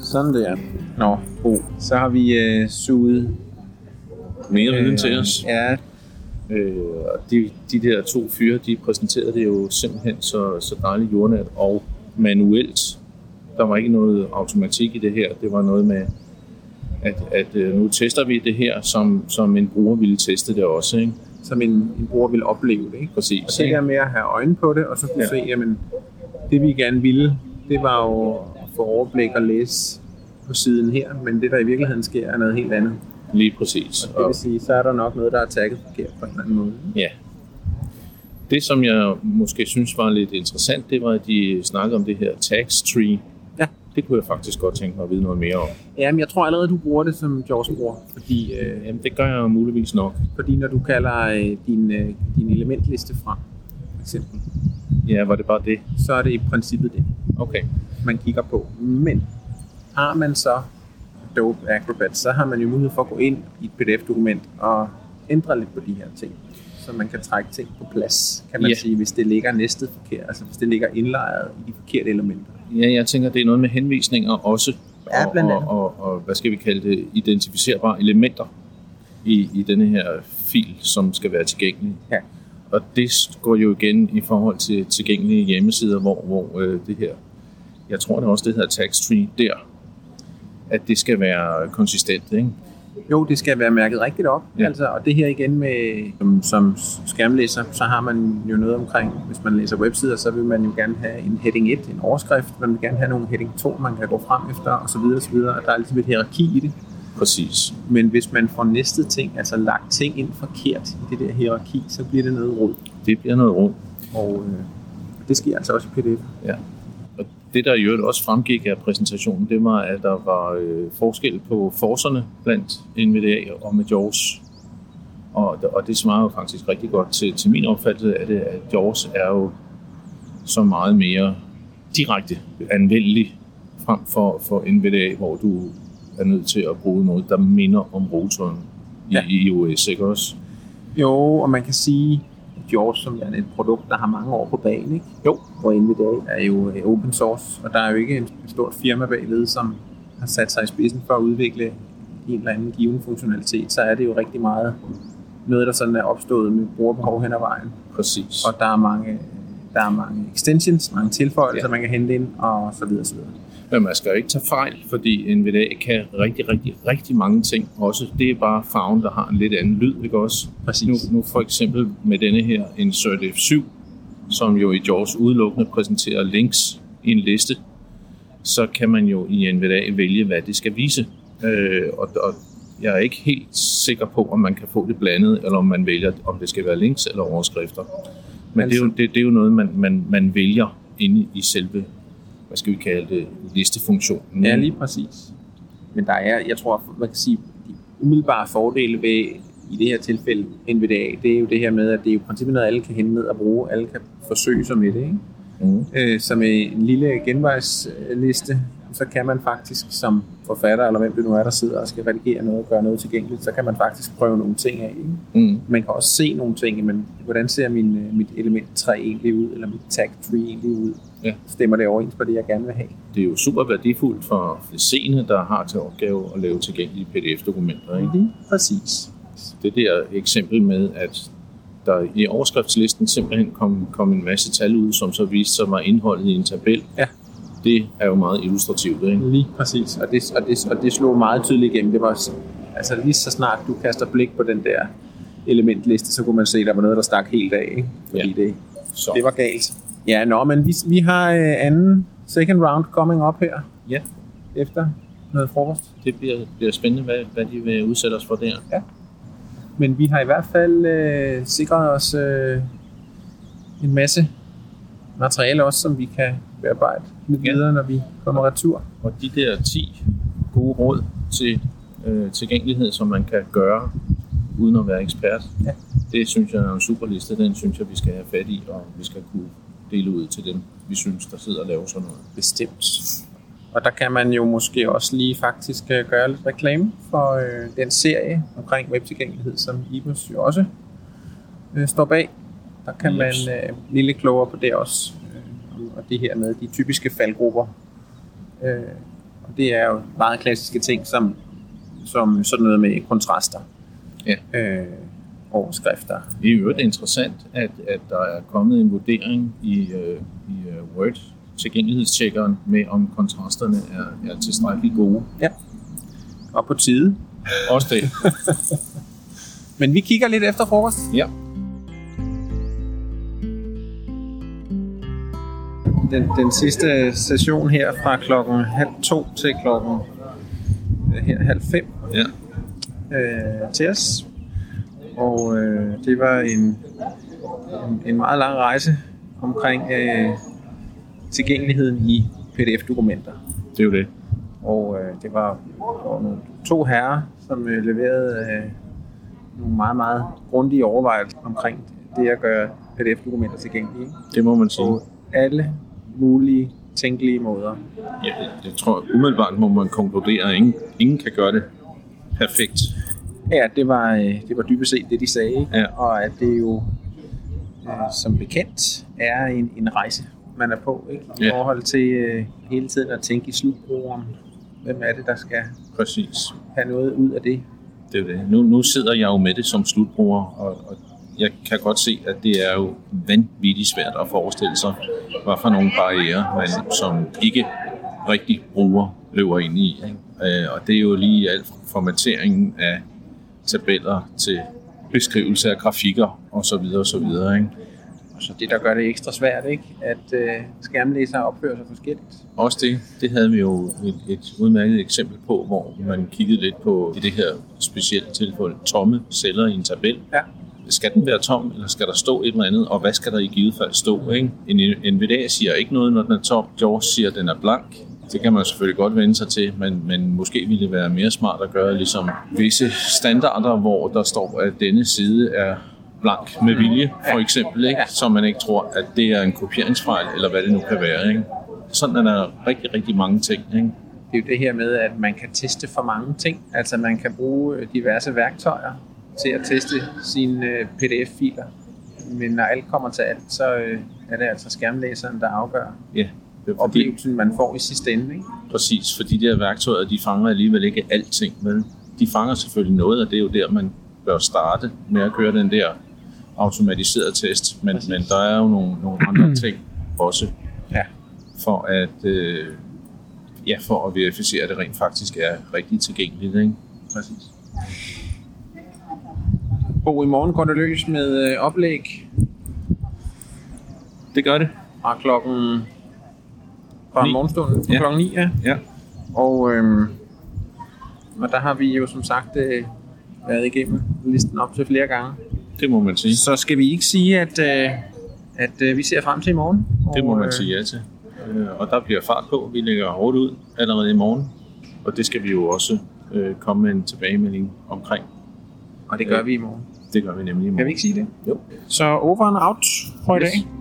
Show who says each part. Speaker 1: Sådan der. Nå, Bo. Så har vi øh, suget...
Speaker 2: Mere viden til os.
Speaker 1: Ja,
Speaker 2: Øh, og de, de der to fyre, de præsenterede det jo simpelthen så, så dejligt jordnært og manuelt. Der var ikke noget automatik i det her. Det var noget med, at, at øh, nu tester vi det her, som, som en bruger ville teste det også. Ikke?
Speaker 1: som en, en bruger vil opleve det. Ikke?
Speaker 2: Præcis.
Speaker 1: Og det
Speaker 2: ikke?
Speaker 1: der med at have øjne på det, og så kunne ja.
Speaker 2: Ja.
Speaker 1: se, jamen, det vi gerne ville, det var jo at få overblik og læse på siden her, men det der i virkeligheden sker, er noget helt andet.
Speaker 2: Lige præcis.
Speaker 1: Det vil sige, så er der nok noget, der er tagget forkert på en eller anden måde.
Speaker 2: Ja. Det, som jeg måske synes var lidt interessant, det var, at de snakkede om det her tax tree.
Speaker 1: Ja.
Speaker 2: Det kunne jeg faktisk godt tænke mig at vide noget mere om.
Speaker 1: Jamen, jeg tror allerede, du bruger det som Jaws bruger, fordi, øh,
Speaker 2: Jamen, det gør jeg jo muligvis nok.
Speaker 1: fordi når du kalder øh, din, øh, din elementliste fra, for eksempel,
Speaker 2: Ja, var det bare det?
Speaker 1: så er det i princippet det,
Speaker 2: Okay.
Speaker 1: man kigger på. Men har man så Adobe Acrobat, så har man jo mulighed for at gå ind i et PDF-dokument og ændre lidt på de her ting. Så man kan trække ting på plads, kan man
Speaker 2: Ja.
Speaker 1: sige, hvis det ligger næstet forkert, altså hvis det ligger indlejret i de forkerte elementer.
Speaker 2: Ja, jeg tænker, det er noget med henvisninger også.
Speaker 1: Ja,
Speaker 2: og,
Speaker 1: blandt
Speaker 2: og,
Speaker 1: andet.
Speaker 2: og, og, hvad skal vi kalde det? Identificerbare elementer i, i denne her fil, som skal være tilgængelig.
Speaker 1: Ja.
Speaker 2: Og det går jo igen i forhold til tilgængelige hjemmesider, hvor, hvor øh, det her, jeg tror det også, det hedder tax tree der, at det skal være konsistent, ikke?
Speaker 1: Jo, det skal være mærket rigtigt op. Ja.
Speaker 2: Ja.
Speaker 1: Altså, og det her igen med, som, som skærmlæser, så har man jo noget omkring, hvis man læser websider, så vil man jo gerne have en heading 1, en overskrift, man vil gerne have nogle heading 2, man kan gå frem efter, osv. osv. Og der er ligesom et hierarki i det.
Speaker 2: Præcis.
Speaker 1: Men hvis man får næste ting, altså lagt ting ind forkert i det der hierarki, så bliver det noget rod.
Speaker 2: Det bliver noget rundt.
Speaker 1: Og øh, det sker altså også i PDF.
Speaker 2: Ja. Og det, der i øvrigt også fremgik af præsentationen, det var, at der var øh, forskel på forserne blandt NVDA og Majors. Og, og det svarer jo faktisk rigtig godt til, til min opfattelse af det, at Jaws er jo så meget mere direkte anvendelig frem for, for NVDA, hvor du er nødt til at bruge noget, der minder om rotoren i,
Speaker 1: Ja.
Speaker 2: ja. i iOS, ikke også?
Speaker 1: Jo, og man kan sige, at George som er et produkt, der har mange år på banen, ikke?
Speaker 2: Jo.
Speaker 1: hvor NVDA er jo øh, open source, og der er jo ikke et stort firma bagved, som har sat sig i spidsen for at udvikle en eller anden given funktionalitet, så er det jo rigtig meget noget, der sådan er opstået med brugerbehov hen ad vejen.
Speaker 2: Præcis.
Speaker 1: Og der er mange, øh, der er mange extensions, mange tilføjelser, ja. man
Speaker 2: Ja.
Speaker 1: kan hente ind, og så videre, så videre.
Speaker 2: Men man skal jo ikke tage fejl, fordi NVDA kan rigtig, rigtig, rigtig mange ting også. Det er bare farven, der har en lidt anden lyd, ikke også?
Speaker 1: Præcis.
Speaker 2: Nu, nu for eksempel med denne her Insert F7, som jo i Jaws udelukkende præsenterer links i en liste, så kan man jo i NVDA vælge, hvad det skal vise. Øh, og, og jeg er ikke helt sikker på, om man kan få det blandet, eller om man vælger, om det skal være links eller overskrifter. Men altså. det, er jo,
Speaker 1: Altså-
Speaker 2: det, det er jo noget, man, man, man vælger inde i selve hvad skal vi kalde det, listefunktionen.
Speaker 1: Ja, lige præcis. Men der er, jeg tror, man kan sige, de umiddelbare fordele ved i det her tilfælde NVDA, det er jo det her med, at det er jo i princippet noget, alle kan hente ned og bruge, alle kan forsøge sig med det. Ikke?
Speaker 2: Mm.
Speaker 1: Øh, så med en lille genvejsliste, så kan man faktisk som forfatter, eller hvem det nu er, der sidder og skal redigere noget og gøre noget tilgængeligt, så kan man faktisk prøve nogle ting af. Ikke?
Speaker 2: Mm.
Speaker 1: Man kan også se nogle ting, men hvordan ser min, øh, mit element 3 egentlig ud, eller mit tag 3 egentlig ud?
Speaker 2: Ja.
Speaker 1: Stemmer det overens på det, jeg gerne vil have?
Speaker 2: Det er jo super værdifuldt for seende, der har til opgave at lave tilgængelige PDF-dokumenter. Ikke?
Speaker 1: Lige præcis.
Speaker 2: Det der eksempel med, at der i overskriftslisten simpelthen kom, kom en masse tal ud, som så viste sig var indholdet i en tabel.
Speaker 1: Ja.
Speaker 2: Det er jo meget illustrativt, ikke?
Speaker 1: Lige præcis. Og det, og det, og det slog meget tydeligt igennem. Det var s- altså lige så snart du kaster blik på den der elementliste, så kunne man se, at der var noget, der stak helt af. Ikke? Fordi
Speaker 2: Ja.
Speaker 1: det,
Speaker 2: Så,
Speaker 1: det var galt. Ja, nå, men vi, vi har øh, anden second round coming up her
Speaker 2: ja,
Speaker 1: efter noget frokost.
Speaker 2: det bliver, bliver spændende, hvad, hvad de vil udsætte os for der.
Speaker 1: Men vi har i hvert fald øh, sikret os øh, en masse materiale også, som vi kan bearbejde lidt
Speaker 2: Ja.
Speaker 1: videre, når vi kommer retur.
Speaker 2: Og de der 10 gode råd til øh, tilgængelighed, som man kan gøre uden at være ekspert,
Speaker 1: Ja.
Speaker 2: det synes jeg er en super liste. Den synes jeg, vi skal have fat i, og vi skal kunne dele ud til dem, vi synes, der sidder og laver sådan noget.
Speaker 1: Bestemt. Og der kan man jo måske også lige faktisk øh, gøre lidt reklame for øh, den serie omkring webtilgængelighed, som Ibus jo også øh, står bag. Der kan man
Speaker 2: Jeps.
Speaker 1: øh, blive lidt klogere på det også. Øh, og det her med de typiske faldgrupper. Øh, og Det er jo meget klassiske ting, som, som sådan noget med kontraster.
Speaker 2: Ja.
Speaker 1: Øh, overskrifter.
Speaker 2: Det er i øvrigt interessant, at, at der er kommet en vurdering i, øh, i øh, Word tilgængelighedstjekkeren med, om kontrasterne er, er tilstrækkeligt gode.
Speaker 1: Og på tide.
Speaker 2: Også det.
Speaker 1: Men vi kigger lidt efter frokost.
Speaker 2: Ja.
Speaker 1: Den, den sidste session her fra klokken halv to til klokken øh, her halv fem
Speaker 2: ja.
Speaker 1: øh, til os. Og øh, det var en, en, en meget lang rejse omkring øh, tilgængeligheden i PDF-dokumenter.
Speaker 2: Det er jo det.
Speaker 1: Og øh, det var der var nogle, to herrer, som øh, leverede øh, nogle meget, meget grundige overvejelser omkring det at gøre PDF-dokumenter tilgængelige ikke?
Speaker 2: Det må man sige.
Speaker 1: på alle mulige tænkelige måder.
Speaker 2: Ja, det, det tror jeg umiddelbart må man konkludere, at ingen, ingen kan gøre det perfekt.
Speaker 1: Ja, det var, øh, det var dybest set det, de sagde. Ikke?
Speaker 2: Ja.
Speaker 1: Og at det jo øh, som bekendt er en, en rejse, man er på. Ikke? I
Speaker 2: Ja.
Speaker 1: forhold til øh, hele tiden at tænke i slutbrugeren. Hvem er det, der skal
Speaker 2: Præcis.
Speaker 1: have noget ud af det?
Speaker 2: Det er jo det. Nu, nu sidder jeg jo med det som slutbruger, og, og jeg kan godt se, at det er jo vanvittigt svært at forestille sig, hvad for nogle barriere man som ikke rigtig bruger løber ind i. Ikke? Øh, og det er jo lige alt fra formateringen af tabeller til beskrivelse af grafikker osv. osv. Ikke?
Speaker 1: Så det, der gør det ekstra svært, ikke? at øh, skærmlæsere opfører sig forskelligt.
Speaker 2: Også det, det havde vi jo et, et udmærket eksempel på, hvor man kiggede lidt på i det her specielle tilfælde tomme celler i en tabel.
Speaker 1: Ja.
Speaker 2: Skal den være tom, eller skal der stå et eller andet, og hvad skal der i givet fald stå? Ikke? En NVDA siger ikke noget, når den er tom. George siger, at den er blank. Det kan man selvfølgelig godt vende sig til, men, men måske ville det være mere smart at gøre ligesom visse standarder, hvor der står, at denne side er blank med vilje, for eksempel, ikke? så man ikke tror, at det er en kopieringsfejl, eller hvad det nu kan være. Ikke? Sådan er der rigtig, rigtig mange ting. Ikke?
Speaker 1: Det er jo det her med, at man kan teste for mange ting. Altså man kan bruge øh, diverse værktøjer til at teste sine øh, PDF-filer. Men når alt kommer til alt, så øh, er det altså skærmlæseren, der afgør
Speaker 2: Ja, det er fordi-
Speaker 1: oplevelsen, man får i sidste ende. Ikke?
Speaker 2: Præcis, for de der værktøjer, de fanger alligevel ikke alting, vel? De fanger selvfølgelig noget, og det er jo der, man bør starte med at køre den der automatiserede test. Men, men der er jo nogle, nogle andre ting også,
Speaker 1: Ja.
Speaker 2: for at, øh, ja, for at verificere, at det rent faktisk er rigtig tilgængeligt, ikke? Præcis.
Speaker 1: Bo, i morgen går det løs med øh, oplæg
Speaker 2: Det gør det.
Speaker 1: fra klokken fra
Speaker 2: Ni.
Speaker 1: morgenstunden fra
Speaker 2: Ja.
Speaker 1: klokken 9, ja.
Speaker 2: Ja.
Speaker 1: Og, øhm, og der har vi jo som sagt øh, været igennem listen op til flere gange.
Speaker 2: Det må man sige.
Speaker 1: Så skal vi ikke sige, at, øh, at øh, vi ser frem til i morgen.
Speaker 2: Det må
Speaker 1: Og,
Speaker 2: man
Speaker 1: øh,
Speaker 2: sige ja til. Øh, Og der bliver fart på. Vi lægger hårdt ud allerede i morgen. Og det skal vi jo også øh, komme med en tilbagemelding omkring.
Speaker 1: Og det gør vi i morgen.
Speaker 2: Det gør vi nemlig i morgen.
Speaker 1: Kan vi ikke sige det?
Speaker 2: Jo.
Speaker 1: Så over and out for i
Speaker 2: Yes.
Speaker 1: dag.